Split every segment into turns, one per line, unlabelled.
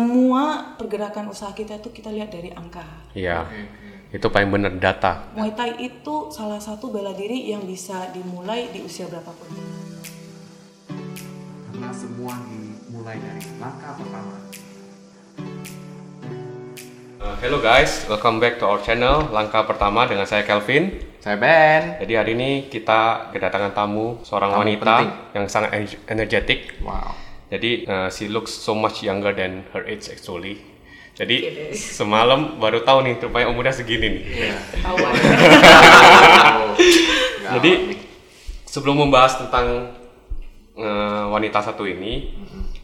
semua pergerakan usaha kita itu kita lihat dari angka.
Iya. Itu paling bener data.
Muay Thai itu salah satu bela diri yang bisa dimulai di usia berapapun.
karena semua dimulai dari langkah pertama.
Uh, hello guys, welcome back to our channel. Langkah pertama dengan saya Kelvin.
Saya Ben.
Jadi hari ini kita kedatangan tamu seorang
Tamu
wanita
penting.
yang sangat ener- energetic.
Wow.
Jadi uh, she looks so much younger than her age actually. Jadi semalam baru tahu nih rupanya umurnya segini nih.
Iya.
Ketahuan.
Jadi sebelum membahas tentang eh, wanita satu ini,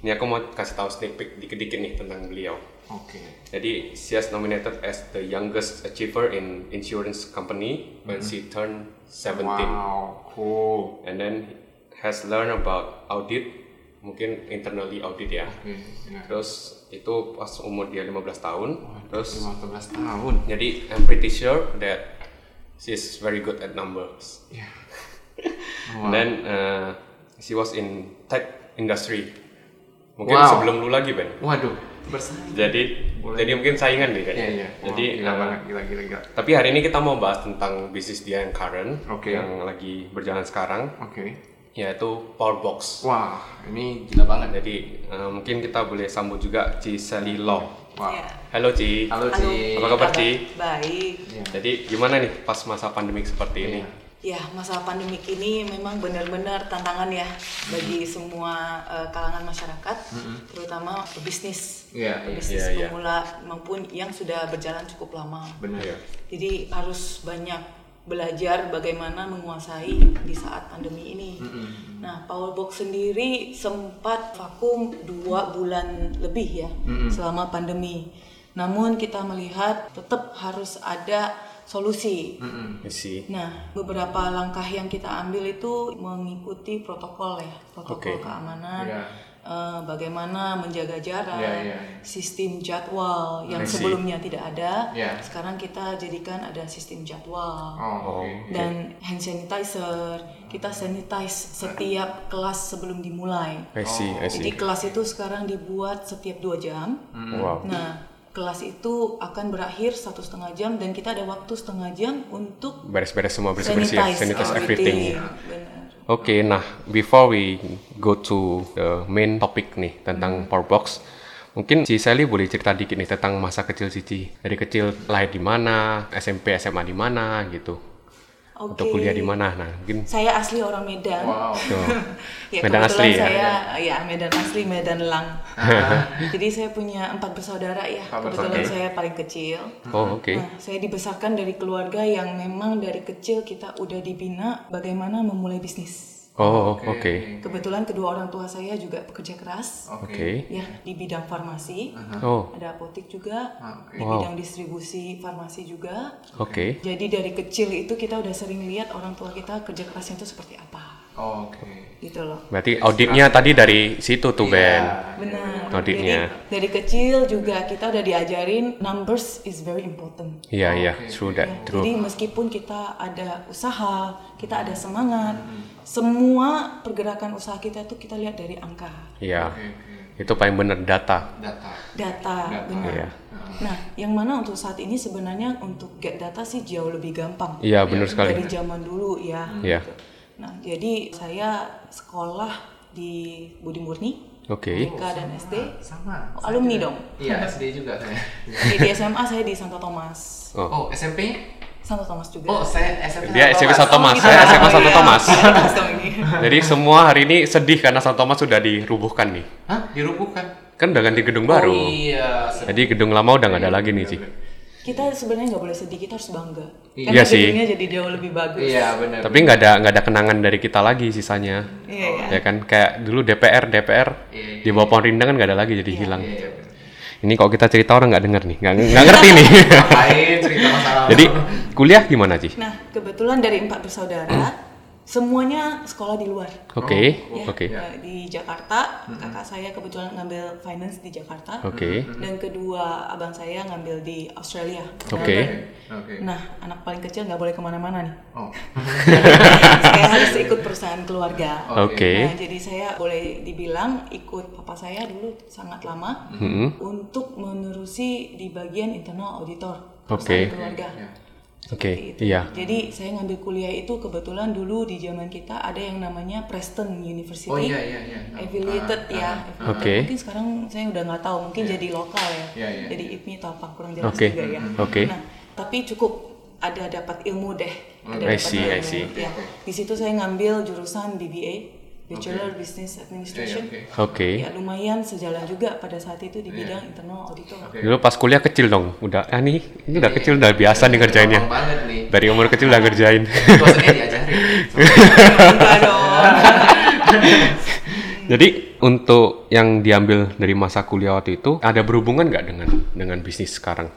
ini aku mau kasih tahu sneak peek dikit-dikit nih tentang beliau.
Oke.
Jadi she has nominated as the youngest achiever in insurance company when she turned 17
Mm-hmm. Wow, cool.
and then has learned about audit, mungkin internally audit ya.
Oke, ya.
Terus itu pas umur dia 15 tahun, terus
15 tahun.
jadi I'm pretty sure that she's very good at numbers.
Ya.
And then uh, she was in tech industry. Mungkin
Wow.
sebelum lu lagi Ben.
Waduh, bersaing.
Jadi jadi mungkin saingan nih kan.
Iya, iya. Wah,
Jadi
gila
uh,
banget, gila gila gila.
tapi hari ini kita mau bahas tentang bisnis dia yang current
Oke.
yang lagi berjalan sekarang
Oke.
yaitu Powerbox.
Wah, ini gila banget ya.
Jadi uh, mungkin kita boleh sambut juga Ci Sally Law.
Wow.
Iya.
Halo Ci.
Halo,
Halo.
Ci.
Apa kabar, Ci?
Baik.
Iya.
Jadi gimana nih pas masa pandemik seperti ini?
Iya.
Ya, masa pandemik ini memang benar-benar tantangan ya bagi semua eh, kalangan masyarakat, terutama pebisnis,
Iya, iya,
pebisnis
iya, iya.
pemula maupun yang sudah berjalan cukup lama.
Benar.
Iya.
Jadi harus banyak belajar bagaimana menguasai di saat pandemi ini. Nah, Powerbox sendiri sempat vakum dua bulan lebih ya selama pandemi. Namun kita melihat tetap harus ada solusi.
Iya.
I see.
Nah, beberapa langkah yang kita ambil itu mengikuti protokol ya, protokol
Oke.
keamanan,
Iya.
eh, bagaimana menjaga jarak,
Iya, iya.
sistem jadwal yang
I see.
sebelumnya tidak ada,
Iya.
sekarang kita jadikan ada sistem jadwal
Oh, oke.
dan hand sanitizer. Kita sanitize setiap kelas sebelum dimulai.
I see,
Oh.
I
Jadi
see.
kelas itu sekarang dibuat setiap dua jam.
Hmm.
Wow.
Nah, kelas itu akan berakhir satu setengah jam dan kita ada waktu setengah jam untuk
Beres-beres semua beres-beres ya, sanitize everything.
everything. Benar.
Oke, nah before we go to the main topic nih
Hmm.
tentang power box, mungkin si Sally boleh cerita dikit nih tentang masa kecil Cici. Dari kecil lahir di mana, SMP, SMA di mana gitu.
Oke.
Atau kuliah di mana. Nah, mungkin gitu.
Saya asli orang Medan.
Wow.
tuh.
Ya,
Medan
kebetulan
asli ya?
saya, ya? Medan asli, Medan Lang. Jadi saya punya empat bersaudara ya.
Empat
Kebetulan
bersaudara.
saya paling kecil.
Oh, oke.
Nah, saya dibesarkan dari keluarga yang memang dari kecil kita udah dibina bagaimana memulai bisnis.
Oh, oke.
Kebetulan kedua orang tua saya juga pekerja keras,
Oke.
ya di bidang farmasi,
Oh,
ada apotek juga,
Ah,
di
oke.
Wow.
bidang distribusi farmasi juga.
oke.
Jadi dari kecil itu kita udah sering lihat orang tua kita kerja kerasnya itu seperti apa,
Oh, Oke.
gitu loh.
Berarti auditnya tadi dari situ
Iya.
tuh, Ben.
Iya.
Benar.
Auditnya.
Jadi, dari kecil juga kita udah diajarin numbers is very important.
Iya, iya, true that,
Ya,
true.
Jadi meskipun kita ada usaha, kita ada semangat, semua pergerakan usaha kita itu kita lihat dari angka,
Iya. Itu paling bener data.
Data.
data, benar.
Iya.
Nah, yang mana untuk saat ini sebenarnya untuk get data sih jauh lebih gampang.
Iya, bener sekali.
dari zaman dulu ya.
Iya.
gitu. Nah, jadi saya sekolah di Budi Murni,
Oke.
TK dan
Oh,
SD.
Sama.
Oh, alumni dong.
Iya, SD juga saya.
Eh, di SMA saya di Santo Thomas.
Oh.
Oh, SMP?
Santo Thomas juga.
Oh, saya SMP.
Dia SMP Santo Thomas,
kita-
saya SMA Santo
iya,
Thomas.
Santo Thomas dong ini.
Jadi semua hari ini sedih karena Santo Thomas sudah dirubuhkan nih.
Hah? Dirubuhkan?
Kan udah ganti gedung baru.
Oh, iya.
Jadi gedung lama udah nggak ada lagi nih, Ci.
Kita sebenarnya nggak boleh sedih, kita harus bangga. Karena
Iya
sih.
jadinya jadi jauh lebih bagus.
Iya, benar.
Tapi nggak ada nggak ada kenangan dari kita lagi sisanya.
Iya, kan?
Ya kan kayak dulu DPR DPR
Iya, iya.
di bawah pohon rindang kan nggak ada lagi jadi hilang.
Iya,
Ini kalau kita cerita orang nggak denger nih, nggak nggak ngerti nih.
Lain cerita masalah.
jadi kuliah gimana, Ci?
Nah, kebetulan dari empat bersaudara, semuanya sekolah di luar.
Oh,
Oke,
iya.
Ya,
oke,
eh, di Jakarta, kakak saya kebetulan ngambil finance di Jakarta.
oke,
Dan kedua abang saya ngambil di Australia.
oke.
Oke.
Nah, anak paling kecil nggak boleh kemana-mana nih.
Oh.
saya harus ikut perusahaan keluarga.
Oke.
Iya.
Nah, jadi saya boleh dibilang ikut papa saya dulu sangat lama
Mm-mm.
untuk menerusi di bagian internal auditor
Oke.
perusahaan keluarga.
Ya.
Oke.
Seperti itu.
Iya.
Jadi saya ngambil kuliah itu kebetulan dulu di zaman kita ada yang namanya Preston University.
Oh iya iya nah. iya.
Affiliated ya. affiliated.
Oke.
Mungkin sekarang saya udah nggak tahu, mungkin jadi lokal ya.
ah, Iya, iya, Mm-hmm.
jadi IPMI atau apa kurang jelas
Oke.
juga ya.
Oke.
Nah, tapi cukup ada dapat ilmu deh.
Oh,
Ada
I
dapat
see, I
ilmu,
see.
ya. Di situ saya ngambil jurusan BBA, Bachelor Business Administration.
Iya, Oke.
Oke.
Iya.
Ya lumayan sejalan juga pada saat itu di bidang internal auditor.
Dulu pas kuliah kecil dong, udah ah nih, ini
Iya.
udah kecil udah biasa nih ngerjainnya.
Gampang banget nih.
Dari umur kecil
Iya.
udah ngerjain.
Dosennya diajarin.
Enggak dong.
Jadi untuk yang diambil dari masa kuliah waktu itu ada berhubungan nggak dengan dengan bisnis sekarang?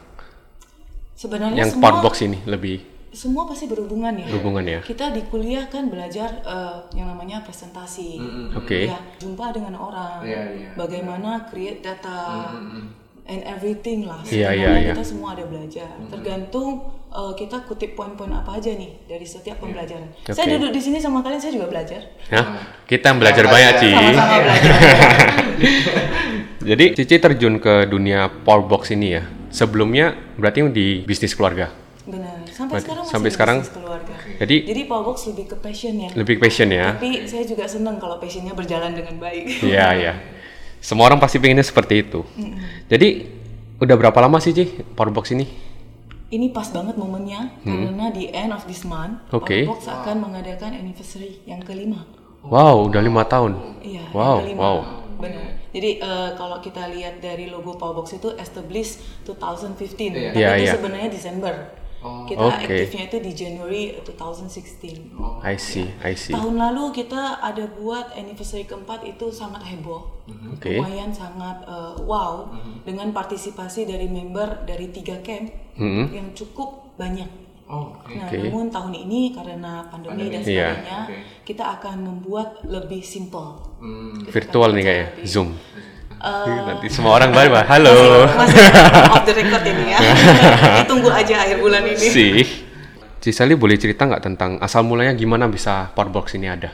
Sebenarnya
Yang
semua
Powerbox ini lebih
semua pasti berhubungan ya.
berhubungan ya.
Kita di kuliah kan belajar eh, yang namanya presentasi.
Mm-hmm.
Oke.
Ya, jumpa dengan orang.
Iya, iya.
Bagaimana create data and everything lah.
Iya,
Sebenarnya
iya, iya.
kita semua ada belajar. Tergantung eh, kita kutip poin-poin apa aja nih dari
Iya.
setiap pembelajaran. Saya
Oke.
duduk di sini sama kalian saya juga belajar.
Hah? Ya, Kita yang belajar banyak, Ci.
Iya, Sama-sama belajar.
Jadi Cici terjun ke dunia Powerbox ini ya. Sebelumnya berarti di bisnis keluarga.
Benar. Sampai
Berarti-
sekarang masih
sampai
di
sekarang-
bisnis keluarga.
Jadi
Jadi Powerbox lebih ke passion ya.
lebih passion ya.
Tapi saya juga senang kalau passionnya berjalan dengan baik.
Iya, iya. Semua orang pasti pengennya seperti itu. Jadi udah berapa lama sih, Ci, Powerbox ini?
Ini pas banget momennya karena di end of this month,
Hmm. Oke.
Powerbox akan mengadakan anniversary yang kelima.
Wow, udah lima tahun.
Iya,
Wow,
yang kelima.
wow.
Benar. Jadi eh, kalau kita lihat dari logo Powerbox itu established 2015,
Iya.
tapi
Iya,
itu
iya.
sebenarnya Desember.
Oh.
Kita
Oke.
aktifnya itu di January 2016.
I see, I see.
Tahun lalu kita ada buat anniversary keempat itu sangat heboh,
Oke.
lumayan sangat eh, wow
Mm-hmm.
dengan partisipasi dari member dari tiga camp
Mm-mm.
yang cukup banyak.
Oh, oke.
Nah,
Hmm? Oke.
namun tahun ini karena pandemi, dan
Pandemi. Iya.
sebagainya,
Oke.
kita akan membuat lebih simple.
Hmm.
Kita
Virtual
akan
nih kayaknya,
lebih-
Zoom.
Eh,
Nanti semua orang baru halo.
masih off the record ini ya. Ditunggu aja akhir bulan ini.
Sih. Ci Sally boleh cerita nggak tentang asal mulanya gimana bisa Powerbox ini ada?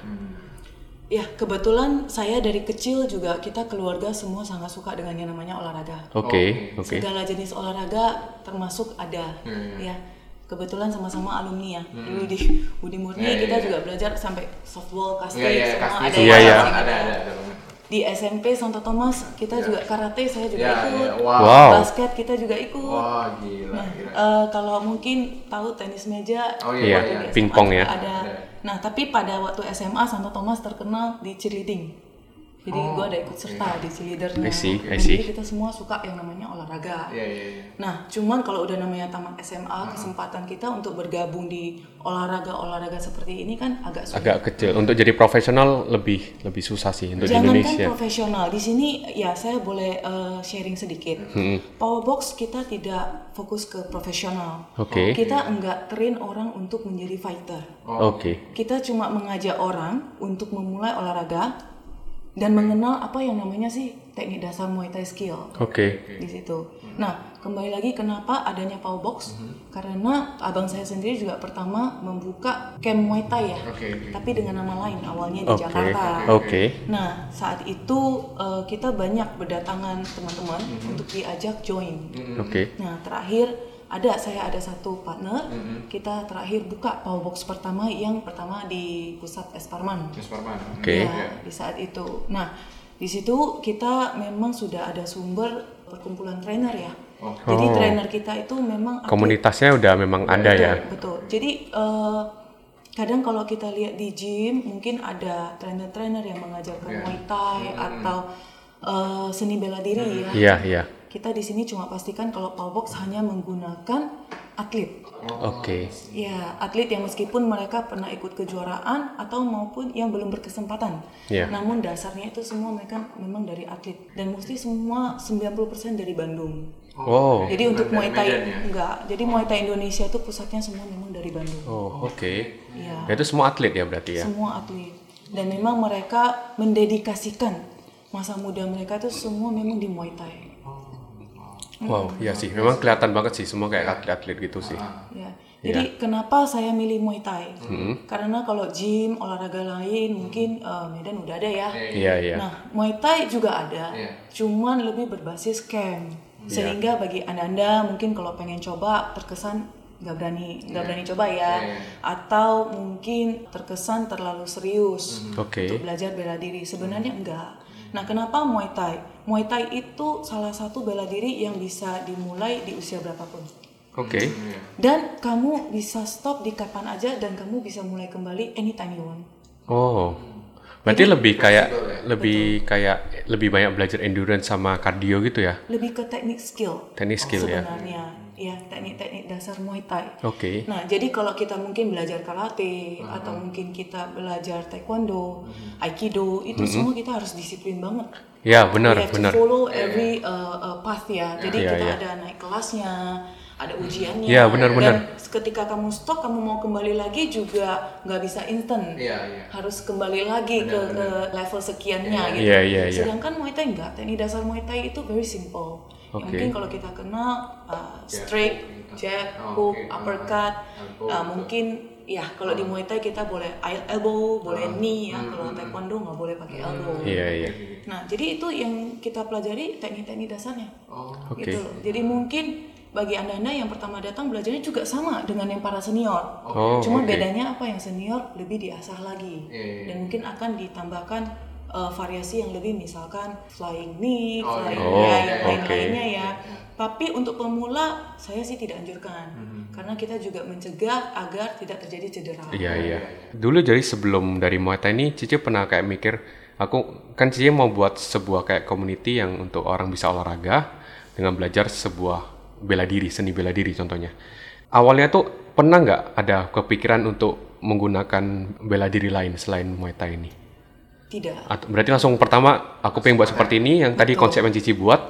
Ya, kebetulan saya dari kecil juga kita keluarga semua sangat suka dengan yang namanya olahraga.
Oke, oke.
Segala jenis olahraga termasuk ada ya. Kebetulan sama-sama alumni ya. Dulu di Budi Murni
Iya, iya,
kita
iya.
juga belajar sampai softball, kasih
Iya iya
semua
kasti.
ada
Iya,
ya.
iya.
Ada,
Ada ada
ya.
ada banget.
Di SMP Santo Thomas kita juga karate, saya juga
Iya
ikut.
iya. Wah.
Wow.
Basket kita juga ikut.
Wah, gila
Nah,
gila.
eh, kalau mungkin tahu tenis meja
Oh
Iya,
iya iya.
di SMA
pingpong ya.
juga Ada. Nah, tapi pada waktu SMA Santo Thomas terkenal di cheerleading. Jadi
Oh,
gua ada ikut serta di cheerleadernya.
I see, I
Dan
see.
Jadi kita semua suka yang namanya olahraga.
Iya Hmm. iya iya.
Nah, cuman kalau udah namanya tamat SMA, kesempatan kita untuk bergabung di olahraga-olahraga seperti ini kan agak sulit.
Agak kecil. Untuk jadi profesional lebih lebih susah sih untuk di Indonesia.
Jangankan profesional, di sini ya saya boleh eh, sharing sedikit.
Hmm.
Powerbox kita tidak fokus ke profesional.
Oke.
Kita enggak train orang untuk menjadi fighter.
Oke.
Kita cuma mengajak orang untuk memulai olahraga dan mengenal apa yang namanya sih teknik dasar Muay Thai skill
Oke.
di situ. Nah, kembali lagi kenapa adanya Powerbox?
Hmm.
Karena abang saya sendiri juga pertama membuka camp Muay Thai ya.
Oke, oke.
Tapi dengan nama lain awalnya di
Oke.
Jakarta.
Oke.
Nah, saat itu eh, kita banyak berdatangan teman-teman untuk diajak join.
Oke.
Nah, terakhir ada saya ada satu partner, kita terakhir buka Powerbox pertama yang pertama di pusat Esparman.
Mas Parman.
Oke.
Iya.
Ya, di saat itu. Nah, di situ kita memang sudah ada sumber perkumpulan trainer ya.
Oh.
Jadi
Oh.
trainer kita itu memang aktif.
Komunitasnya udah memang ada ya.
Betul. Jadi eh, kadang kalau kita lihat di gym mungkin ada trainer-trainer yang mengajarkan
Iya.
Muay Thai atau eh, seni bela diri ya.
Iya, iya.
Kita di sini cuma pastikan kalau powerbox hanya menggunakan atlet.
Oke.
Ya, atlet yang meskipun mereka pernah ikut kejuaraan atau maupun yang belum berkesempatan.
Iya.
Namun dasarnya itu semua mereka memang dari atlet dan mesti semua 90% dari Bandung.
Wow.
Jadi untuk
bukan dari
Muay Thai
Medan ya?
enggak. Jadi Muay Thai Indonesia itu pusatnya semua memang dari Bandung.
Oh, oke.
Iya.
Ya, Itu semua atlet ya berarti ya.
Semua atlet. Dan memang mereka mendedikasikan masa muda mereka itu semua memang di Muay Thai.
Wow, iya sih. Memang kelihatan banget sih semua kayak atlet-atlet gitu sih.
Ya. Jadi kenapa saya milih Muay Thai? Karena kalau gym, olahraga lain mungkin eh, Medan udah ada ya.
Iya, iya.
Nah, Muay Thai juga ada,
Iya.
cuman lebih berbasis camp. Sehingga bagi anda-anda mungkin kalau pengen coba terkesan nggak berani, nggak berani coba ya,
Iya.
atau mungkin terkesan terlalu serius untuk
Mhm. Oke.
belajar bela diri.
Mhm.
Sebenarnya enggak. Nah, kenapa Muay Thai? Muay Thai itu salah satu bela diri yang bisa dimulai di usia berapapun.
Oke.
Iya.
Dan kamu bisa stop di kapan aja dan kamu bisa mulai kembali anytime you want.
Oh. Berarti lebih kayak
Betul, ya.
lebih kayak lebih banyak belajar endurance sama cardio gitu ya.
Lebih ke teknik skill.
Teknik skill ya.
sebenarnya ya teknik-teknik dasar Muay Thai.
Oke.
Nah, jadi kalau kita mungkin belajar karate
Hmm,
atau mungkin kita belajar taekwondo, aikido, itu semua kita harus disiplin banget.
Ya,
We
Hmm.
Iya,
benar,
have to
benar.
follow every uh, uh, path ya. Jadi
Iya,
kita
iya.
ada naik kelasnya, ada ujiannya.
Iya, benar,
Dan
benar.
ketika kamu stop, kamu mau kembali lagi juga nggak bisa instan.
Iya, iya.
Harus kembali lagi ke, ke level sekiannya gitu.
Iya, iya, iya.
Sedangkan Muay Thai enggak. Teknik dasar Muay Thai itu very simple. Ya,
Oke.
Mungkin kalau kita kenal uh, straight, jab,
Oh,
hook,
oke.
uppercut, uh,
Elbow, betul.
mungkin ya kalau
Hmm.
di Muay Thai kita boleh elbow, boleh knee ya. Kalau taekwondo nggak boleh pakai elbow.
Iya, iya.
Nah, jadi itu yang kita pelajari teknik-teknik dasarnya.
Oh,
Oke.
Gitu loh. Jadi mungkin bagi anda-anda yang pertama datang belajarnya juga sama dengan yang para senior.
Oh,
Cuma
oke.
bedanya apa yang senior lebih diasah lagi
Iya, iya.
dan mungkin akan ditambahkan eh, variasi yang lebih misalkan flying knee,
Oh,
flying
iya.
ya,
Oh,
yang
oke.
lain-lainnya ya. Tapi untuk pemula saya sih tidak anjurkan karena kita juga mencegah agar tidak terjadi cedera.
Iya iya. Dulu jadi sebelum dari Muay Thai ini Cici pernah kayak mikir aku kan Cici mau buat sebuah kayak community yang untuk orang bisa olahraga dengan belajar sebuah bela diri, seni bela diri contohnya. Awalnya tuh pernah nggak ada kepikiran untuk menggunakan bela diri lain selain Muay Thai ini?
Tidak.
Atau, berarti langsung pertama aku pengen buat seperti ini yang tadi konsep yang Cici buat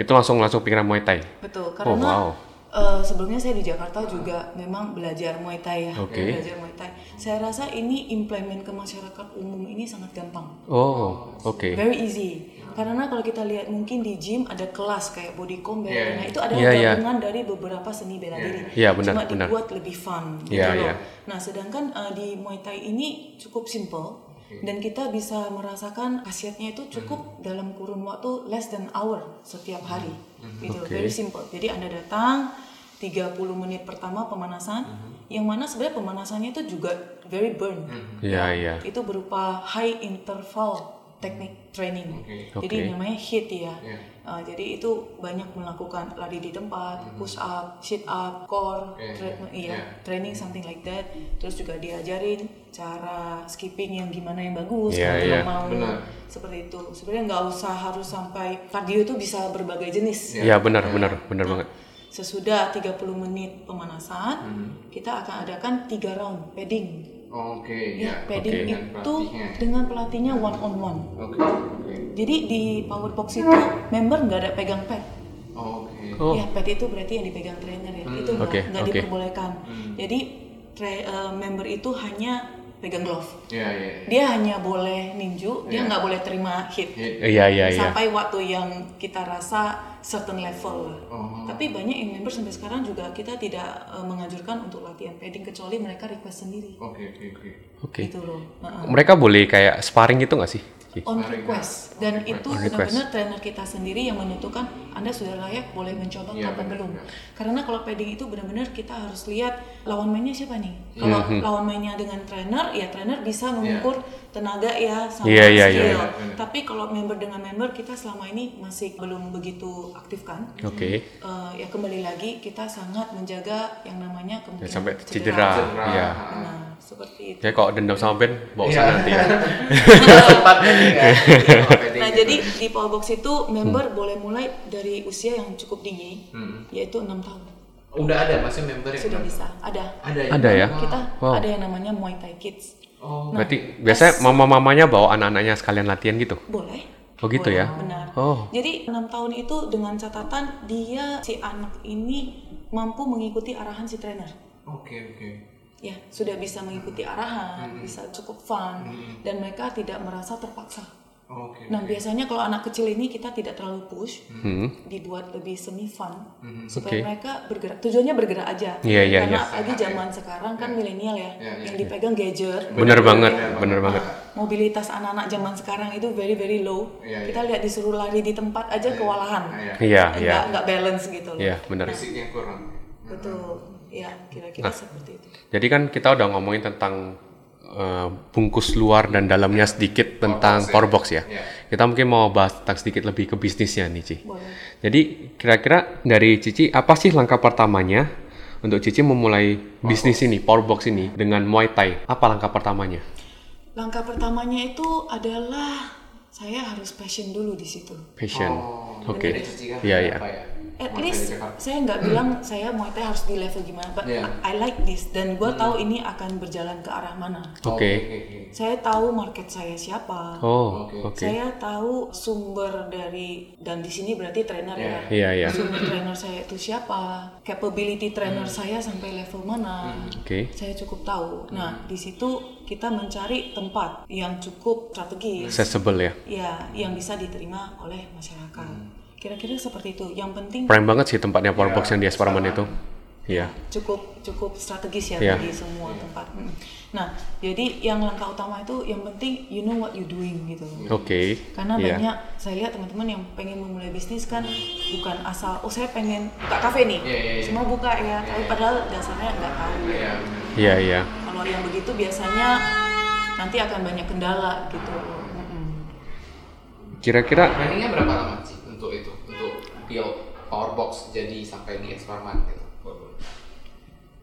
itu langsung langsung pikiran Muay Thai.
Betul,
Oh,
karena
wow.
eh, sebelumnya saya di Jakarta juga memang belajar Muay Thai ya,
Oke.
belajar Muay Thai. Saya rasa ini implement ke masyarakat umum ini sangat gampang,
Oh, oke.
very easy. Karena kalau kita lihat mungkin di gym ada kelas kayak body combat,
Iya,
nah itu adalah
Iya, iya.
gabungan dari beberapa seni bela diri.
Iya, benar,
Cuma
benar.
dibuat lebih fun. gitu
Iya,
loh.
iya.
Nah sedangkan eh, di Muay Thai ini cukup simple. Dan kita bisa merasakan khasiatnya itu
Mm-hmm.
cukup dalam kurun waktu less than hour setiap hari, gitu.
Mm-hmm. Oke.
Very simple. Jadi Anda datang 30 menit pertama pemanasan,
Mm-hmm.
yang mana sebenarnya pemanasannya itu juga very burn.
hmm.
Iya iya.
Itu berupa high interval teknik training. Jadi
Oke.
namanya HIIT ya.
Iya.
Uh, jadi itu banyak melakukan lari di tempat, push up, sit up, core,
Iya,
tra-
iya,
iya,
iya.
training something like that. Terus juga diajarin cara skipping yang gimana yang bagus
Iya,
kalau
iya.
yang mau
Benar.
seperti itu. Sebenarnya nggak usah harus sampai cardio itu bisa berbagai jenis.
Iya benar benar benar banget.
Sesudah 30 menit pemanasan, kita akan adakan 3 round padding.
Iya,
Oke, ya.
Ya, padding
Dengan
itu
pelatihnya.
dengan pelatihnya one on one.
Oke, oke.
Jadi di power box itu member nggak ada pegang pad.
Oke.
Oh. Hmm,
Ya pad itu berarti yang dipegang trainer ya. Itu nggak
Oke,
nggak
oke. Hmm.
diperbolehkan. Jadi tra- eh, member itu hanya pegang glove.
Iya, iya.
Dia hanya boleh ninju, dia
Iya.
nggak boleh terima hit.
Iya iya iya.
Sampai waktu yang kita rasa certain level lah.
Oh.
Tapi banyak yang member sampai sekarang juga kita tidak eh, menganjurkan untuk latihan padding kecuali mereka request sendiri.
Oke, oke, oke.
Oke.
Gitu loh. Nah,
Mereka boleh kayak sparring gitu nggak sih? Ci?
on
ya.
request dan itu
On request.
benar-benar trainer kita sendiri yang menentukan Anda sudah layak boleh mencoba
Iya,
apa
benar,
belum.
benar.
Karena kalau padding itu benar-benar kita harus lihat lawan mainnya siapa nih.
Iya.
Kalau
Mhm.
lawan mainnya dengan trainer, ya trainer bisa mengukur
Iya.
tenaga ya sama
Iya, iya,
skill.
iya.
benar.
Tapi kalau member dengan member kita selama ini masih belum begitu aktif kan.
Oke.
Eh, ya kembali lagi kita sangat menjaga yang namanya
Ya,
kemungkinan
sampai cedera.
Cedera.
Iya.
Nah, seperti itu.
Jadi kalau Ya, dendam sama Ben, bawa sana nanti ya.
Iya. Sempat tadi kan. Oh, padding
Nah,
itu.
jadi di
Hmm.
powerbox itu member boleh mulai dari usia yang cukup tinggi, yaitu enam tahun.
Udah Hmm. ada masih member yang
sudah
nonton?
bisa ada
Ada ya.
Ada ya?
kita Nah.
Wow.
ada yang namanya Muay Thai Kids
Oh.
Berarti biasanya mama-mamanya bawa anak-anaknya sekalian latihan gitu.
boleh
Oh gitu
Boleh,
ya?
benar
Oh.
jadi enam tahun itu dengan catatan dia si anak ini mampu mengikuti arahan si trainer
Oke oke.
ya sudah bisa mengikuti arahan
Hmm.
bisa cukup fun dan mereka tidak merasa terpaksa
Oke.
nah biasanya kalau anak kecil ini kita tidak terlalu push
Hmm.
dibuat lebih semi fun
Mhm.
supaya
Oke.
mereka bergerak tujuannya bergerak aja
Iya, iya,
karena
iya.
apalagi zaman sekarang kan milenial ya
Iya, iya,
yang dipegang gadget
Bener banget, bener banget.
mobilitas anak-anak zaman sekarang itu very very low
Iya, iya.
kita lihat disuruh lari di tempat aja kewalahan
Nah, ya.
Iya,
nggak
iya.
nggak balance gitu loh
Iya, bener.
Fisiknya kurang.
betul ya kira-kira
Nah.
seperti itu
Jadi kan kita udah ngomongin tentang eh, bungkus luar dan dalamnya sedikit tentang
box ya.
powerbox ya.
Iya.
Kita mungkin mau bahas tentang sedikit lebih ke bisnisnya nih Ci.
boleh
Jadi kira-kira dari Cici apa sih langkah pertamanya untuk Cici memulai bisnis ini, powerbox ini dengan Muay Thai? Apa langkah pertamanya?
langkah pertamanya itu adalah saya harus passion dulu di situ
Passion.
Oh,
Oke.
jadi Cici kan
Iya, iya.
apa ya?
at
Mau
least
tanya Jakarta. Hmm.
saya nggak bilang saya Muay Thai harus di level gimana but
Iya.
I like this dan
Hmm.
gue tahu ini akan berjalan ke arah mana
Oh,
Oke.
saya tahu market saya siapa
Oh,
Oke.
oke.
saya tahu sumber dari dan di sini berarti trainer
Iya.
ya
Iya, iya.
sumber trainer saya itu siapa capability trainer
Hmm.
saya sampai level mana
Oke.
saya cukup tahu
Hmm.
nah di situ kita mencari tempat yang cukup strategis
Accessible ya.
ya yang bisa diterima oleh masyarakat
Hmm.
kira-kira seperti itu yang penting
Prime banget sih tempatnya powerbox yang di Esparman itu. Iya.
cukup cukup strategis ya
Iya.
bagi semua tempat. Mm. Nah, jadi yang langkah utama itu yang penting you know what you doing gitu.
Oke.
Karena
Iya.
banyak saya lihat teman-teman yang pengen memulai bisnis kan bukan asal oh saya pengen buka kafe nih,
Iya, iya, iya.
semua buka ya, tapi padahal dasarnya nggak tahu.
Iya.
Iya, iya.
Kalau yang begitu biasanya nanti akan banyak kendala gitu. Mm-mm.
Kira-kira
Trainingnya berapa lama sih untuk itu? Untuk build power box jadi sampai di Esparman gitu.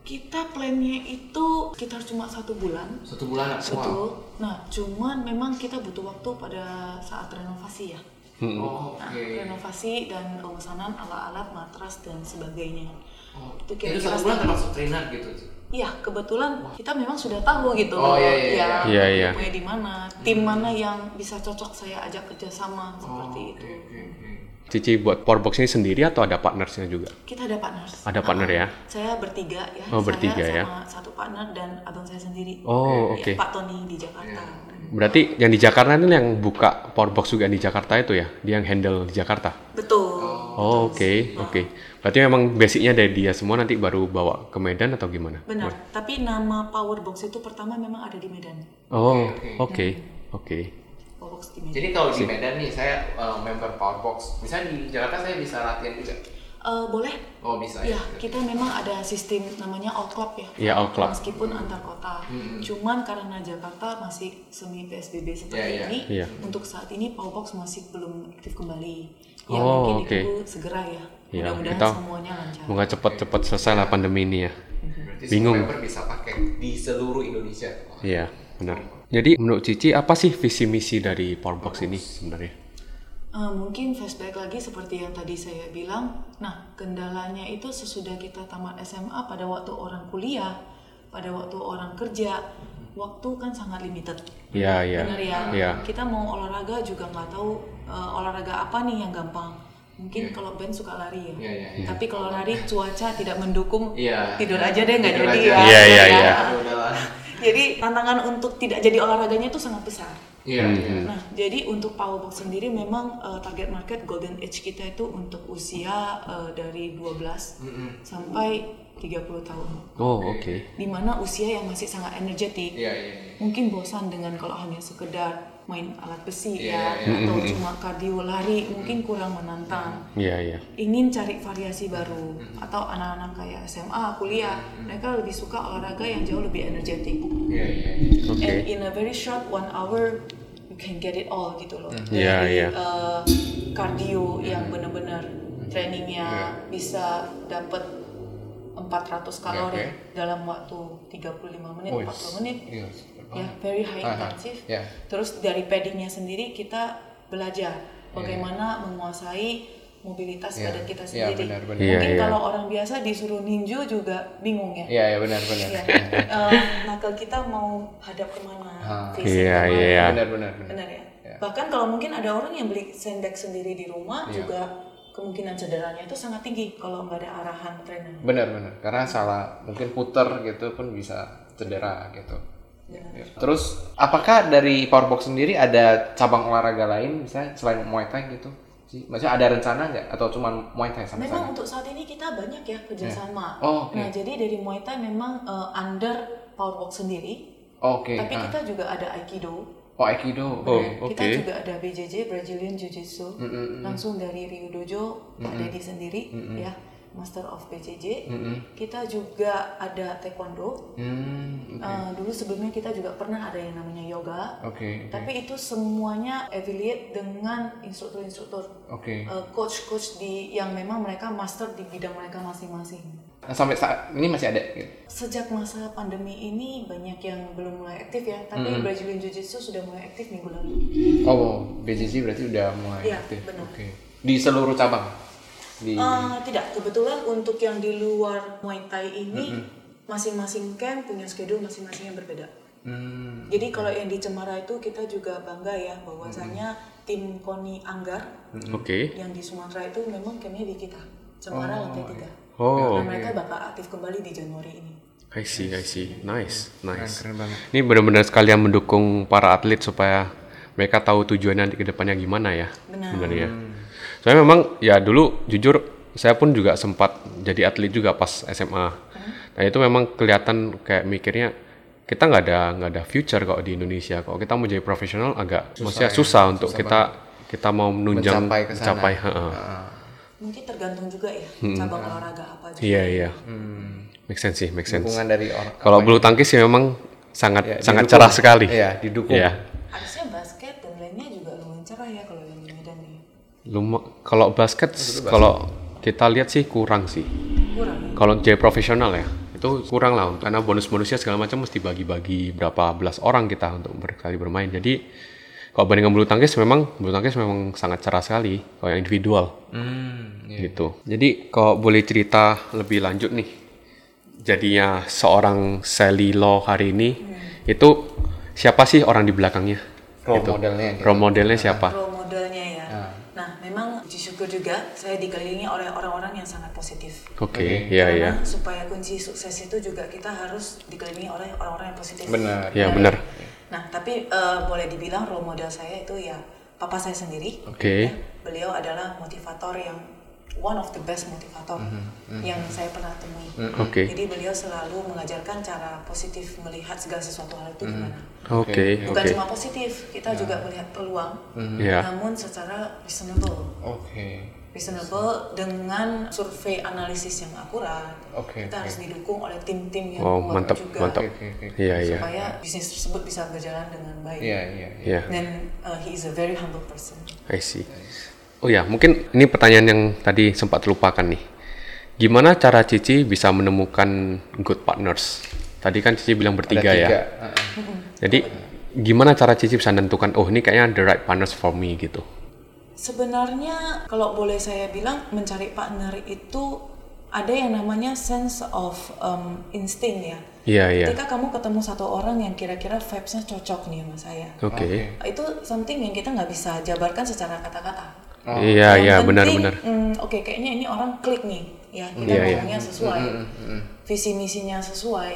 Kita plannya itu sekitar cuma satu bulan.
Satu bulan lah. Wow.
Betul. Nah, cuman memang kita butuh waktu pada saat renovasi ya.
Oh,
Nah,
Oke.
renovasi dan pemesanan alat-alat matras dan sebagainya.
Oh,
Itu
itu
kira-kira
satu bulan
setengah.
termasuk trainer gitu. Ci?
Iya, kebetulan kita memang sudah tahu gitu.
Oh, iya, iya, iya.
ya,
Iya, iya.
grupnya di mana, tim mana yang bisa cocok saya ajak kerjasama seperti
Oh,
itu.
Oke oke oke.
Cici buat powerbox ini sendiri atau ada partnersnya juga?
Kita ada partner. Ah,
Ada partner ya?
Saya bertiga ya.
Oh, bertiga
saya
ya.
sama satu partner dan abang saya sendiri. Ya,
Oh, oke.
Pak Tony di Jakarta.
Iya.
Berarti yang di Jakarta itu yang buka powerbox juga yang di Jakarta itu ya? Dia yang handle di Jakarta?
Betul. Nah,
Oh, oke, oke. Berarti memang basicnya dari dia semua nanti baru bawa ke Medan atau gimana?
Benar. Tapi nama Powerbox itu pertama memang ada di Medan.
Oh,
Oke,
oke, oke.
Powerbox di Medan.
Jadi kalau di Medan nih saya eh, member Powerbox, misalnya di Jakarta saya bisa latihan juga.
Eh, boleh?
Oh bisa
Ya,
ya.
kita memang ada sistem namanya all club ya.
Iya, all club.
Meskipun antar kota.
Hmm.
Cuman karena Jakarta masih semi PSBB seperti
Iya, iya.
ini,
Iya.
untuk saat ini Powerbox masih belum aktif kembali. Ya
Oh,
mungkin
oke.
itu segera ya.
Iya,
Mudah-mudahan
kita-
semuanya lancar.
Moga cepat-cepat selesai lah pandemi ini ya.
Berarti
Bingung.
semua member bisa pakai di seluruh Indonesia. Wah,
Iya, benar. Jadi menurut Cici apa sih visi misi dari powerbox ini sebenarnya?
Eh, mungkin flashback lagi seperti yang tadi saya bilang. Nah, kendalanya itu sesudah kita tamat SMA pada waktu orang kuliah, pada waktu orang kerja, waktu kan sangat limited.
Iya, iya.
Benar ya.
Iya.
Kita mau olahraga juga nggak tahu eh, olahraga apa nih yang gampang. Mungkin kalau band suka lari ya.
Iya, iya, iya.
Tapi kalau lari cuaca tidak mendukung,
Iya.
tidur aja deh nggak
Tidur
jadi
aja.
ya.
Iya, iya,
Ya.
iya.
Aduh, udah lah.
Jadi tantangan untuk tidak jadi olahraganya itu sangat besar.
Iya.
Hmm.
iya.
Nah, jadi untuk Powerbox sendiri memang eh, target market golden age kita itu untuk usia eh, dari 12
Mm-mm.
sampai 30 tahun.
Oh, oke.
Dimana usia yang masih sangat energetik,
Iya iya. iya.
mungkin bosan dengan kalau hanya sekedar main alat besi
Iya,
ya atau cuma kardio lari mungkin kurang menantang
Iya, iya.
ingin cari variasi baru atau anak-anak kayak SMA kuliah mereka lebih suka olahraga yang jauh lebih energetik
Iya iya.
Oke.
and in a very short one hour you can get it all gitu loh
Mm-hmm.
Iya, iya.
eh, kardio yang benar-benar trainingnya
Iya.
bisa dapat 400 kalori
Oke.
dalam waktu 35 menit
Oh,
40 menit Iya.
Iya.
ya very high
Aha,
intensive
ya.
terus dari paddingnya sendiri kita belajar bagaimana menguasai mobilitas
Iya,
pada kita
iya,
sendiri.
benar, benar.
Iya,
Mungkin
iya.
kalau orang biasa disuruh ninju juga bingung ya.
Iya, ya benar benar.
Iya. Eh, nakal kita mau hadap kemana?
Ah, Iya.
facing
iya,
kemana.
iya.
Benar benar benar.
Benar ya. Bahkan kalau mungkin ada orang yang beli sendok sendiri di rumah
Iya.
juga kemungkinan cederanya itu sangat tinggi kalau nggak ada arahan trainer.
Benar benar. Karena salah mungkin puter gitu pun bisa cedera gitu.
Benar.
Ya. Terus apakah dari Powerbox sendiri ada cabang olahraga lain misalnya selain Muay Thai gitu? sih? Maksudnya ada rencana nggak atau cuma Muay Thai sama
Memang
sama?
untuk saat ini kita banyak ya kerjasama.
Oh, oke.
Nah jadi dari Muay Thai memang eh, under powerwalk sendiri,
Oke.
tapi
ah.
kita juga ada Aikido,
Oh Aikido. Oke.
Oh,
kita
oke.
juga ada BJJ Brazilian Jiu Jitsu, langsung dari Ryu Dojo Pak Deddy sendiri ya Master of BJJ. Kita juga ada Taekwondo.
Hmm.
Eh, dulu sebelumnya kita juga pernah ada yang namanya yoga.
Oke. oke,
Tapi itu semuanya affiliate dengan instruktur-instruktur,
Oke.
eh, coach-coach di yang memang mereka master di bidang mereka masing-masing.
Nah, sampai saat ini masih ada. Gitu.
Sejak masa pandemi ini banyak yang belum mulai aktif ya, tapi Brazilian Jiu-Jitsu sudah mulai aktif minggu lalu.
Oh, wow. BJJ berarti udah mulai
Iya,
aktif.
benar.
Oke. Di seluruh cabang. Di
Eh, tidak, kebetulan untuk yang di luar Muay Thai ini masing-masing camp punya schedule masing-masing yang berbeda.
Hmm,
Jadi kalau yang di Cemara itu kita juga bangga ya bahwasanya tim Koni Anggar
Oke.
yang di Sumatera itu memang campnya di kita, Cemara lantai tiga.
Iya. Oh,
Dan mereka bakal aktif kembali di Januari ini.
I see, I see. Nice, nice.
keren banget.
Ini benar-benar sekalian mendukung para atlet supaya mereka tahu tujuannya ke depannya gimana ya.
Benar.
Sebenarnya.
Hmm.
Soalnya memang ya dulu jujur saya pun juga sempat jadi atlet juga pas SMA. Nah itu memang kelihatan kayak mikirnya kita nggak ada nggak ada future kalau di Indonesia. Kalau kita mau jadi profesional agak maksudnya susah untuk kita kita mau menunjang
ya, Mencapai ke sana. Hmm.
mencapai, heeh.
Ah,
Mungkin tergantung juga ya cabang olahraga apa juga.
Iya iya. Make sense sih, make sense.
hmm, Dukungan dari orang.
Kalau bulu tangkis sih memang sangat
Ya,
sangat
didukung.
cerah sekali.
Iya, didukung.
Iya.
Harusnya basket dan lainnya juga lumayan cerah ya kalau yang di Medan nih.
Luma- kalau basket kalau kita lihat sih kurang sih.
Kurang. ya?
Kalau jadi profesional ya itu kurang lah karena bonus-bonusnya segala macam mesti bagi-bagi berapa belas orang kita untuk berkali bermain. Jadi kalau bandingkan bulu tangkis memang bulu tangkis memang sangat cerah sekali kalau yang individual
Hmm, iya.
gitu. Jadi kalau boleh cerita lebih lanjut nih, jadinya seorang Sally Law hari ini
Iya.
itu siapa sih orang di belakangnya?
Role modelnya gitu.
Role modelnya siapa?
Role modelnya ya. Nah, memang puji syukur juga saya dikelilingi oleh orang-orang yang sangat positif.
Oke, iya iya.
Karena supaya kunci sukses itu juga kita harus dikelilingi oleh orang-orang yang positif.
Benar.
Iya benar.
Nah, tapi eh, boleh dibilang role model saya itu ya papa saya sendiri. Ya,
Oke.
Beliau adalah motivator yang one of the best motivator yang saya pernah temui.
Mhm, Mm, Oke.
Jadi beliau selalu mengajarkan cara positif melihat segala sesuatu hal itu gimana.
Oke,
Bukan
oke.
cuma positif,
Ya.
kita juga melihat peluang,
Mhm.
Iya.
namun secara reasonable.
Oke.
Reasonable dengan survei analisis yang akurat.
Oke,
kita
oke.
harus didukung oleh tim-tim yang
Oh,
kuat
mantap,
juga
mantap.
Oke, oke, oke.
Iya iya.
supaya bisnis tersebut bisa berjalan dengan baik.
Iya, iya. iya.
Iya.
Dan uh, he is a very humble person.
I see. Oh ya, mungkin ini pertanyaan yang tadi sempat terlupakan nih. Gimana cara Cici bisa menemukan good partners? Tadi kan Cici bilang
Ada
bertiga ya.
tiga. Ah, ah.
Jadi gimana cara Cici bisa menentukan oh ini kayaknya the right partners for me gitu.
Sebenarnya kalau boleh saya bilang mencari partner itu ada yang namanya sense of um, instinct ya.
Iya iya.
Ketika kamu ketemu satu orang yang kira-kira vibes-nya cocok nih sama saya,
Oke.
itu something yang kita nggak bisa jabarkan secara kata-kata.
Iya
Oh, Yang
iya
penting,
benar benar.
mm, Oke, kayaknya ini orang klik nih, ya kita
Iya, iya.
ngomongnya
Hmm,
sesuai, visi misinya sesuai,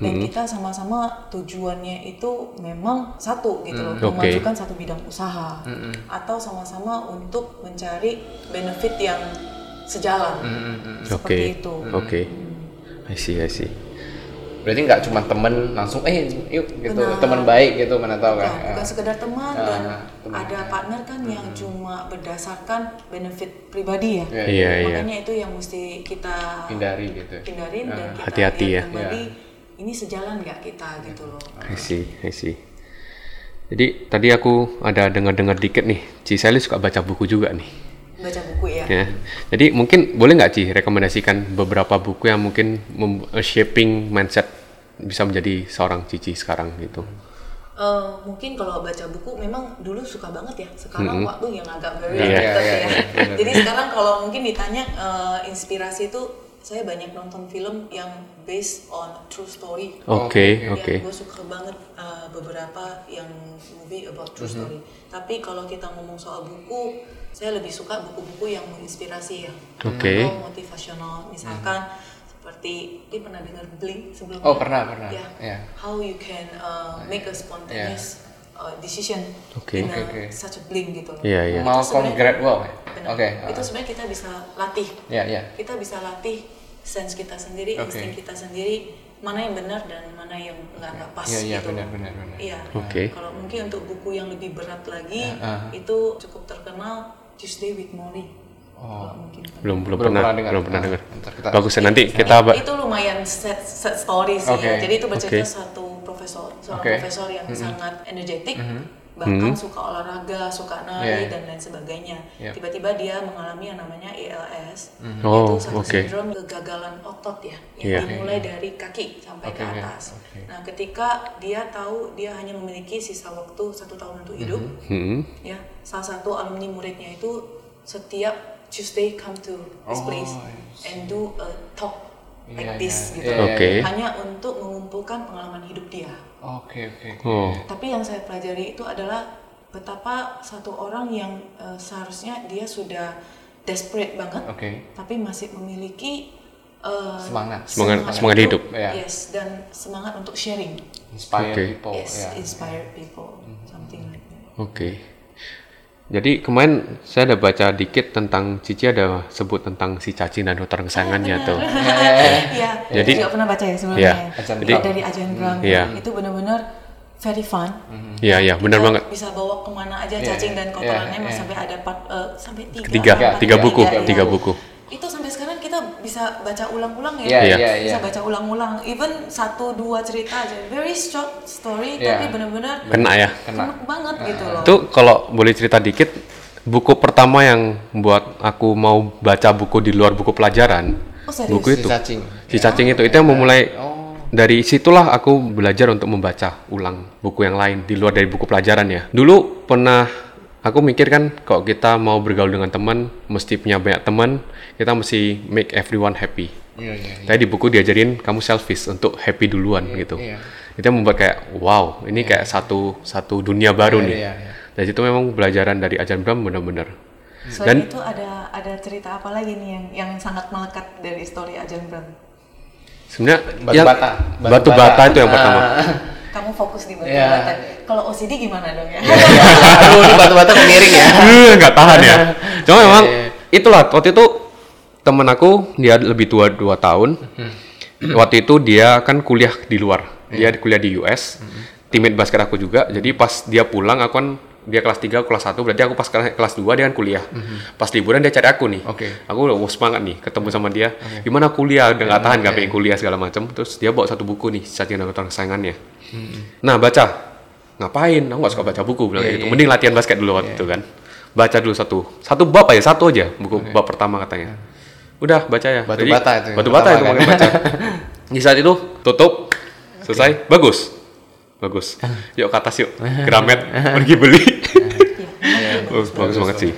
dan kita sama-sama tujuannya itu memang satu gitu loh,
Oke.
memajukan satu bidang usaha, atau sama-sama untuk mencari benefit yang sejalan, seperti
Oke.
itu.
Oke. I see I see.
Berarti nggak cuma temen langsung eh yuk gitu
Benar.
teman baik gitu mana tahu
Bukan,
kan.
Nah, bukan
Ah.
sekedar teman dan
Ah, teman.
ada partner kan yang cuma berdasarkan benefit pribadi ya.
Iya,
Iya iya.
Makanya itu yang mesti kita
Hindari gitu.
hindarin dan kita lihat
Hati-hati ya. Iya.
kembali ini sejalan nggak kita gitu loh.
I see I see. Jadi tadi aku ada dengar-dengar dikit nih. Ci Sally suka baca buku juga nih.
Baca buku ya.
Ya. Jadi mungkin boleh nggak Ci rekomendasikan beberapa buku yang eh, mungkin mem- shaping mindset bisa menjadi seorang Cici sekarang gitu.
eh, mungkin kalau baca buku memang dulu suka banget ya. Sekarang waktu yang agak berat
Iya,
deket
iya,
ya.
iya, benar.
Jadi sekarang kalau mungkin ditanya eh, inspirasi itu saya banyak nonton film yang based on true story.
Oke,
Ya,
oke.
gue suka banget uh, beberapa yang movie about true
Mm-hmm.
story. Tapi kalau kita ngomong soal buku, saya lebih suka buku-buku yang menginspirasi ya.
Oke.
Atau motivasional, misalkan seperti, ini pernah dengar Blink sebelumnya?
Mm-hmm. Oh, pernah, pernah.
Ya.
Ya.
How you can uh, make a spontaneous uh, decision
Oke.
in a,
Oke, oke.
such a blink gitu. loh.
Iya, iya.
Malcolm
sebenarnya-
Gladwell ya?
Benar.
Oke.
Itu sebenarnya kita bisa latih
Ya, ya.
kita bisa latih sense kita sendiri,
Oke.
insting kita sendiri, mana yang benar dan mana yang nggak nggak pas
Iya, iya,
gitu.
benar, benar, benar.
Iya.
Oke.
Kalau mungkin untuk buku yang lebih berat lagi,
Ah, ah.
itu cukup terkenal Tuesday with Morrie.
Oh.
Kalau mungkin kan. pernah.
Belum belum
Belum
pernah
pernah dengar.
belum pernah
Ah,
dengar.
ntar kita-
Bagus ya nanti kita ba-
itu lumayan set, set story sih ya.
Oke.
Jadi itu bercerita
Oke.
satu profesor, seorang
Oke.
profesor yang sangat energetik, bahkan suka olahraga, suka nari
Yeah.
dan lain sebagainya.
Yep. Mm-hmm.
Tiba-tiba dia mengalami yang namanya ELS,
Oh,
itu satu
oke.
sindrom kegagalan otot ya,
Yeah.
yang dimulai dari kaki sampai ke
Mm-hmm. Oke, yeah.
atas.
Oke.
Nah, ketika dia tahu dia hanya memiliki sisa waktu satu tahun untuk hidup,
Mm-hmm.
Hmm.
ya salah satu alumni muridnya itu setiap Tuesday come to this
Oh,
place
I
and do a talk
Iya,
like
iya.
this gitu
Iya, iya,
Oke.
iya.
hanya untuk mengumpulkan pengalaman hidup dia
Oke, oke. oke.
Oh.
tapi yang saya pelajari itu adalah betapa satu orang yang eh, seharusnya dia sudah desperate banget
Oke.
tapi masih memiliki eh,
Semangat.
Semangat- semangat hidup.
Iya.
yes dan semangat untuk sharing
Inspire
Oke.
people.
yes
ya.
inspire people
Mm-hmm.
something like that
Oke. Jadi kemarin saya ada baca dikit tentang Cici ada sebut tentang si Caci dan hutan kesayangannya
Iya,
tuh.
Iya,
Jadi-
jadi juga pernah baca ya sebelumnya.
Iya,
ya?
Ajan
Jadi-
Brang.
dari Ajan Brang
Iya.
itu benar-benar very fun.
Iya, iya, benar
Kita
banget.
Bisa bawa kemana aja
Mhm. Iya,
cacing dan
iya,
kotorannya
iya.
sampai ada part, eh, sampai tiga,
Tiga,
apa, empat,
tiga buku,
iya.
tiga buku.
Itu sampai sekarang kita bisa baca ulang-ulang ya.
Iya,
Iya.
iya, iya.
Bisa baca ulang-ulang, even satu dua cerita aja. Very short story
Iya.
tapi benar-benar
Kena ya.
Kena.
kena banget gitu loh.
Itu kalau boleh cerita dikit, buku pertama yang buat aku mau baca buku di luar buku pelajaran,
Oh, serius?
buku
Si
itu,
cacing.
si cacing itu, itu yang memulai
Oh.
dari situlah aku belajar untuk membaca ulang buku yang lain di luar dari buku pelajaran ya. Dulu pernah aku mikir kan kalau kita mau bergaul dengan teman mesti punya banyak teman, kita mesti make everyone happy.
Iya, iya, iya.
Tadi di buku diajarin kamu selfish untuk happy duluan gitu.
iya.
Itu yang membuat kayak wow, ini kayak satu satu dunia baru
Iya,
nih.
iya, iya.
Dan itu memang pelajaran dari Ajan Bram benar-benar.
Selain itu ada ada cerita apa lagi nih yang yang sangat melekat dari story Ajan Brang?
Sebenarnya
Batu
yang-
bata. Ah,
batu, bata. itu yang pertama.
Kamu fokus di batu
Iya.
bata. Kalau OCD gimana dong ya?
Aduh, ini batu-batu miring ya.
Eh, nggak tahan ya. Cuma
Iya,
memang
iya.
itulah waktu itu temen aku dia lebih tua 2 tahun.
Hmm.
waktu itu dia kan kuliah di luar. Dia
Iya.
kuliah di US.
Hmm.
Teammate basket aku juga. Jadi pas dia pulang aku kan dia kelas 3, aku kelas 1, berarti aku pas ke- kelas 2 dia kan kuliah. Pas liburan dia cari aku nih.
Hmm. Oke.
Aku udah wah, semangat nih ketemu sama dia. Gimana kuliah? Udah
Iya,
nggak tahan nggak pengen kuliah segala macam. Terus dia bawa satu buku nih, Sajian Anggota Kesayangannya. Nah, baca. Ngapain? Aku nggak suka baca buku bilang
Iya,
kayak gitu. Mending latihan basket dulu waktu itu kan. Baca dulu satu. Satu bab aja, satu aja buku bab pertama katanya. Udah baca ya.
Iya. Batu bata itu yang
Batu bata itu
pertama
pakai
kan.
baca. Di saat itu tutup. Selesai. Bagus. Bagus. Yuk ke atas yuk. Gramet pergi
Iya.
beli.
Oh,
bagus, bagus banget sih.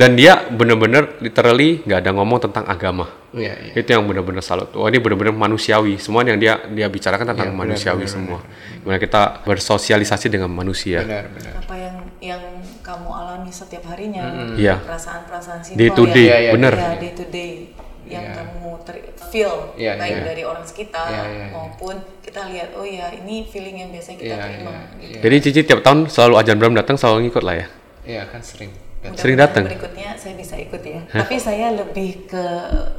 Dan dia bener-bener literally nggak ada ngomong tentang agama.
Iya, iya.
Itu yang bener-bener salut. Wah ini bener-bener manusiawi. Semua yang dia dia bicarakan
Iya,
tentang manusiawi semua. Gimana kita bersosialisasi dengan manusia.
Benar, benar.
apa yang yang kamu alami setiap harinya?
Iya.
Perasaan-perasaan simpel
Day to day,
yang-
Iya, iya,
bener.
ya, day to day yang
Iya.
kamu ter- feel
Iya,
baik
iya.
dari orang sekitar
Iya, iya, iya.
maupun kita lihat oh ya ini feeling yang biasanya kita
Iya,
terima.
iya,
gitu.
iya.
Jadi Cici tiap tahun selalu ajan Bram datang selalu ngikut lah ya.
Iya, kan sering.
Mudah-mudahan
Sering datang?
Berikutnya saya bisa ikut ya. Tapi saya lebih ke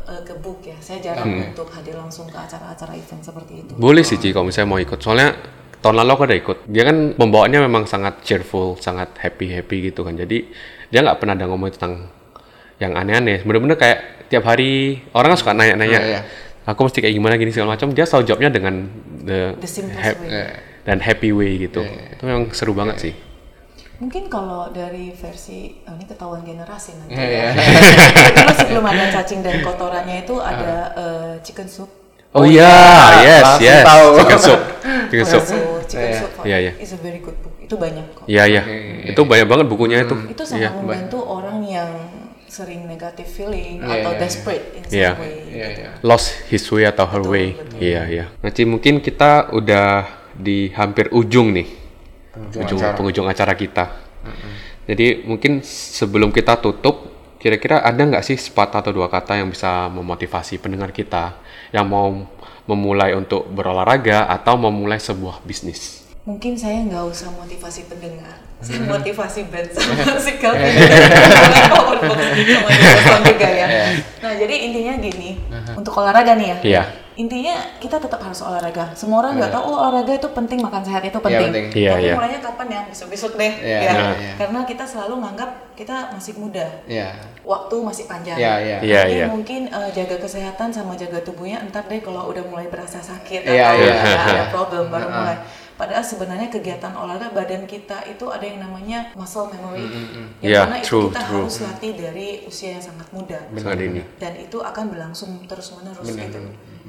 eh, ke book ya. Saya jarang
Iya.
untuk hadir langsung ke acara-acara event seperti itu.
Boleh sih Cici kalau misalnya mau ikut. Soalnya tahun lalu aku ada ikut. Dia kan pembawaannya memang sangat cheerful, sangat happy happy gitu kan. Jadi dia nggak pernah ada ngomong tentang yang aneh-aneh. Bener-bener kayak tiap hari orang kan suka nanya-nanya.
Iya, iya.
Aku mesti kayak gimana gini segala macam. Dia selalu jawabnya dengan the,
The simplest
hap-
way.
Iya.
dan happy way gitu. Itu memang seru banget sih.
Mungkin kalau dari versi oh, ini ketahuan generasi nanti. ya.
Iya, iya.
Ah.
Dulu sebelum ada cacing dan kotorannya itu ada eh, chicken soup.
Oh, iya, yes,
langsung
yes.
tahu.
Chicken soup. Chicken soup.
So, Chicken Soup for
Iya, iya.
is a very good book. Itu banyak kok.
Iya, iya.
Oke.
Itu banyak banget bukunya itu.
Itu sangat membantu orang yang sering negative feeling
Iya,
atau
iya,
desperate in some
Iya.
way.
Iya, iya.
Lost his way atau her way. Iya, iya. Nanti mungkin kita udah di hampir ujung nih. Ujung
acara.
penghujung acara kita. Jadi mungkin sebelum kita tutup, kira-kira ada nggak sih sepatah atau dua kata yang bisa memotivasi pendengar kita yang mau memulai untuk berolahraga atau memulai sebuah bisnis?
Mungkin saya nggak usah motivasi pendengar,
Hmm.
saya motivasi band sama si
Iya.
Calvin. juga ya. Nah jadi intinya gini, untuk olahraga nih ya.
Iya.
Intinya kita tetap harus olahraga. Semua orang nggak tahu oh, olahraga itu penting, makan sehat itu penting.
Iya. penting.
Iya,
Tapi
iya.
mulainya kapan ya? Besok-besok deh.
Iya,
ya.
iya, iya.
Karena kita selalu menganggap kita masih muda,
Iya.
waktu masih panjang.
Iya, iya.
Iya,
Jadi
iya.
mungkin eh, jaga kesehatan sama jaga tubuhnya entar deh kalau udah mulai berasa sakit
Iya,
atau
iya.
udah ada
Iya.
problem baru mulai. Padahal sebenarnya kegiatan olahraga badan kita itu ada yang namanya muscle memory. Yang
Iya,
mana itu
true,
kita
true.
harus latih dari usia yang sangat muda.
Saat ini.
Dan itu akan berlangsung terus-menerus gitu.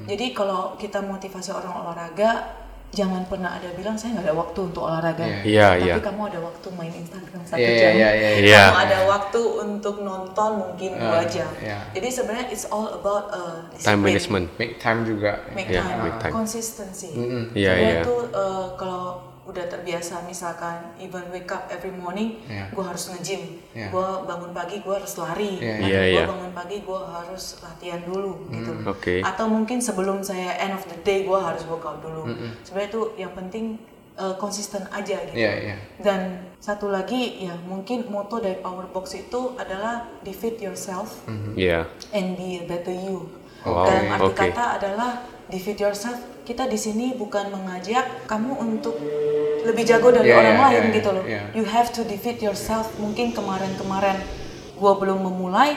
Jadi kalau kita motivasi orang olahraga jangan pernah ada bilang saya nggak ada waktu untuk olahraga.
Iya,
Tapi
iya.
kamu ada waktu main Instagram satu
Iya,
jam.
iya, iya,
iya.
Kamu ada waktu untuk nonton mungkin dua jam.
iya.
Jadi sebenarnya it's all about uh, disiplin.
Time management.
Make time juga.
make
Iya,
time,
make time.
consistency.
Iya,
Sebenarnya
iya.
itu uh, kalau udah terbiasa misalkan even wake up every morning,
Iya.
gue harus nge-gym,
Iya.
gue bangun pagi gue harus lari,
Iya, Mm.
Nanti
iya.
gue
Iya, iya.
bangun pagi gue harus latihan dulu gitu.
Oke.
Atau mungkin sebelum saya end of the day gue harus workout dulu. Sebenarnya itu yang penting uh, konsisten aja gitu.
Iya, iya.
Dan satu lagi ya mungkin moto dari Power Box itu adalah defeat yourself
Iya.
and be a better you.
Wow,
Dalam arti
oke.
kata adalah defeat yourself. Kita di sini bukan mengajak kamu untuk lebih jago dari
Yeah,
orang
yeah,
lain
yeah,
gitu loh.
yeah.
You have to defeat yourself. Mungkin kemarin-kemarin gua belum memulai.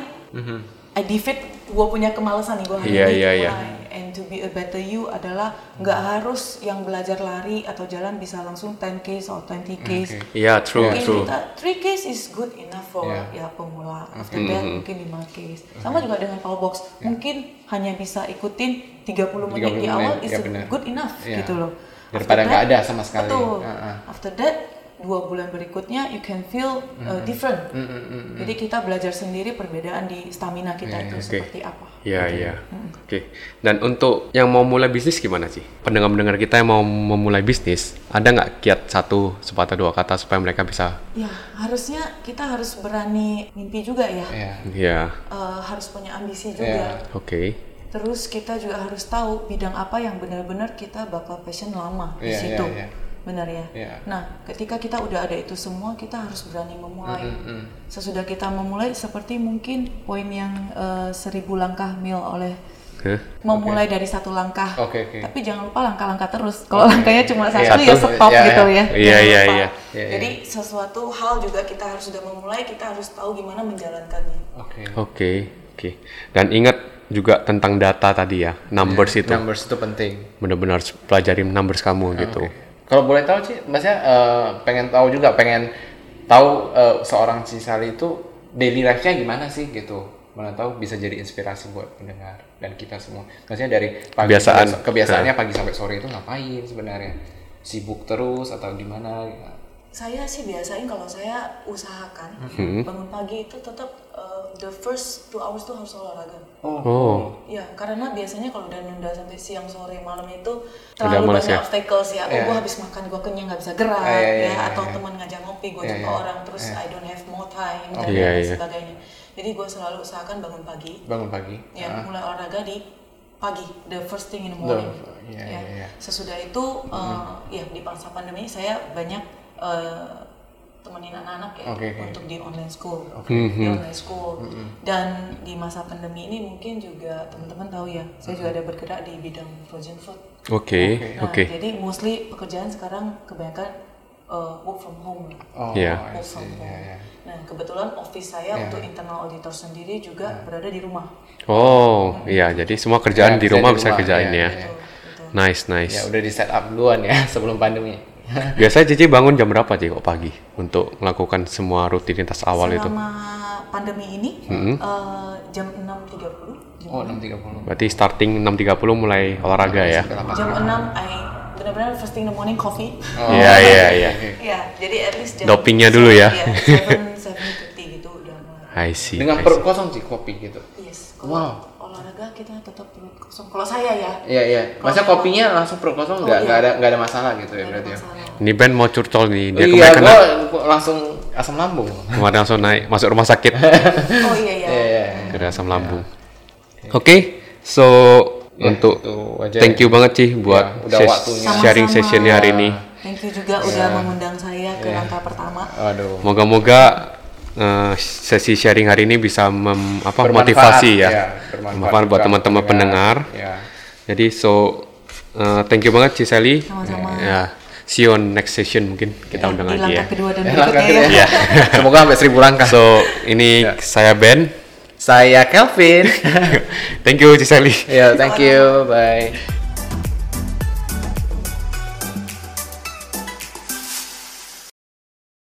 I defeat gua punya kemalasan nih gua hari
Yeah,
ini
yeah, yeah.
mulai. And to be a better you adalah nggak harus yang belajar lari atau jalan bisa langsung 10k atau 20k.
Iya, true,
Mungkin
true.
kita 3 case is good enough for ya pemula. After that mungkin
mm-hmm.
5 case. Sama juga dengan power box. Mungkin hanya bisa ikutin 30 menit di
30
awal
menit,
is
ya benar.
good enough
Iya.
gitu loh. After
Daripada nggak
that-
ada sama sekali. Uh-uh.
Betul.
Heeh.
After that dua bulan berikutnya you can feel uh,
Mm-hmm.
different.
Mm,
Jadi kita belajar sendiri perbedaan di stamina kita itu
oke.
seperti apa.
Iya, iya. Oke. Dan untuk yang mau mulai bisnis gimana sih? Pendengar-pendengar kita yang mau memulai bisnis, ada nggak kiat satu, sepatah dua kata supaya mereka bisa
Ya harusnya kita harus berani mimpi juga ya.
Iya.
Iya.
Eh, harus punya ambisi juga.
Iya.
Oke.
Terus kita juga harus tahu bidang apa yang benar-benar kita bakal passion lama di
Iya, iya,
situ.
iya.
Benar ya?
Iya.
Nah, ketika kita udah ada itu semua, kita harus berani memulai.
Mm,
Sesudah kita memulai seperti mungkin poin yang eh, seribu langkah mil oleh
Hah?
memulai dari satu langkah.
Oke, oke.
Tapi jangan lupa langkah-langkah terus. Kalau langkahnya cuma satu,
Satu,
ya stop
iya,
gitu
iya.
ya.
Iya,
Jangan
iya,
lupa.
iya.
Iya, iya.
Jadi sesuatu hal juga kita harus sudah memulai, kita harus tahu gimana menjalankannya.
Oke.
Oke. Oke. Dan ingat juga tentang data tadi ya, numbers itu.
Numbers itu penting.
Benar-benar pelajari numbers kamu gitu.
Kalau boleh tahu sih, maksudnya eh, pengen tahu juga, pengen tahu eh, seorang Cisali itu daily life-nya gimana sih gitu. Mana tahu bisa jadi inspirasi buat pendengar dan kita semua. Maksudnya dari pagi
Kebiasaan. Nah.
kebiasa- kebiasaannya pagi sampai sore itu ngapain sebenarnya? Sibuk terus atau gimana?
saya sih biasain kalau saya usahakan
Hmm.
bangun pagi itu tetap uh, the first two hours tuh harus olahraga.
Oh.
Ya, karena biasanya kalau udah nunda sampai siang sore malam itu
Udah
terlalu
males
banyak
ya?
obstacles ya. Oh,
Iya.
gua habis makan gua kenyang nggak bisa gerak
Ah, iya, iya,
ya
iya,
atau
iya.
teman ngajak ngopi gua
Iya,
jumpa
iya. Oh,
orang terus I don't have more time dan
Iya,
lain
iya.
sebagainya. Jadi gua selalu usahakan bangun pagi
Bangun pagi.
ya
Ah.
mulai olahraga di pagi the first thing in the morning
The- iya,
ya.
iya, Hmm. iya.
sesudah itu eh, ya di masa pandemi saya banyak eh, temenin anak-anak ya
Oke, Hmm. oke.
untuk di online school di online school dan di masa pandemi ini mungkin juga teman-teman tahu ya saya
Hmm.
juga ada bergerak di bidang frozen food
Oke.
nah
Oke.
jadi mostly pekerjaan sekarang kebanyakan eh, work from home lah.
Oh,
Iya.
I
Work
see.
from home.
Iya, iya.
Nah, kebetulan office saya untuk internal auditor sendiri juga
Hmm.
berada di rumah.
Oh, iya. Jadi semua kerjaan
Iya,
di
bisa
rumah
di
bisa
rumah,
kerjain ya.
iya, iya.
Gitu.
Nice,
Ya
nice.
udah di set up duluan ya sebelum pandemi.
Biasanya Cici bangun jam berapa sih kok pagi untuk melakukan semua rutinitas awal itu? Mm-hmm.
selama pandemi ini eh, jam 6.30 jam,
Oh, 6.30.
Berarti starting 6.30 mulai olahraga ya?
jam 6 I benar-benar first thing in the morning coffee
Oh,
Iya, iya, iya.
oke.
Iya, jadi at least jam
Dopingnya dulu ya.
Iya, 7, 7.30 gitu udah mulai.
I see.
Dengan
I see.
perut kosong sih kopi gitu.
Yes.
Wow.
Kalau olahraga kita tetap perut kosong. Kalau saya ya,
Iya iya. Masa kopinya langsung perut
Oh,
kosong nggak nggak ada nggak ada masalah gitu ya berarti ya.
iya. masalah.
Ini Ben mau curcol nih, dia
Iya,
kemarin kena,
gua gua langsung asam lambung.
ya? kemarin langsung naik, masuk rumah sakit.
Oh iya iya.
Iya iya. Ya,
Gara asam lambung. Oke, so untuk
itu aja.
thank you banget sih buat
Ya, udah
ses-
waktunya.
Sama-sama.
sharing sessionnya hari ini.
Thank you juga udah
Iya.
mengundang saya ke langkah pertama.
Aduh.
Moga-moga eh, sesi sharing hari ini bisa mem, apa
Bermanfaat,
motivasi ya,
ya, bermanfaat
bermanfaat buat
juga
teman-teman pendengar.
Ya.
Jadi so eh, thank you banget Ciseli.
Sama-sama.
Ya, see you on next session mungkin kita
Di
undang lagi
langkah
ya.
kedua dan
Eh, langkah
berikutnya ya.
ya. Semoga sampai seribu langkah.
Iya. So ini saya Ben.
Saya Kelvin.
thank you Ciseli.
ya, thank you. Bye.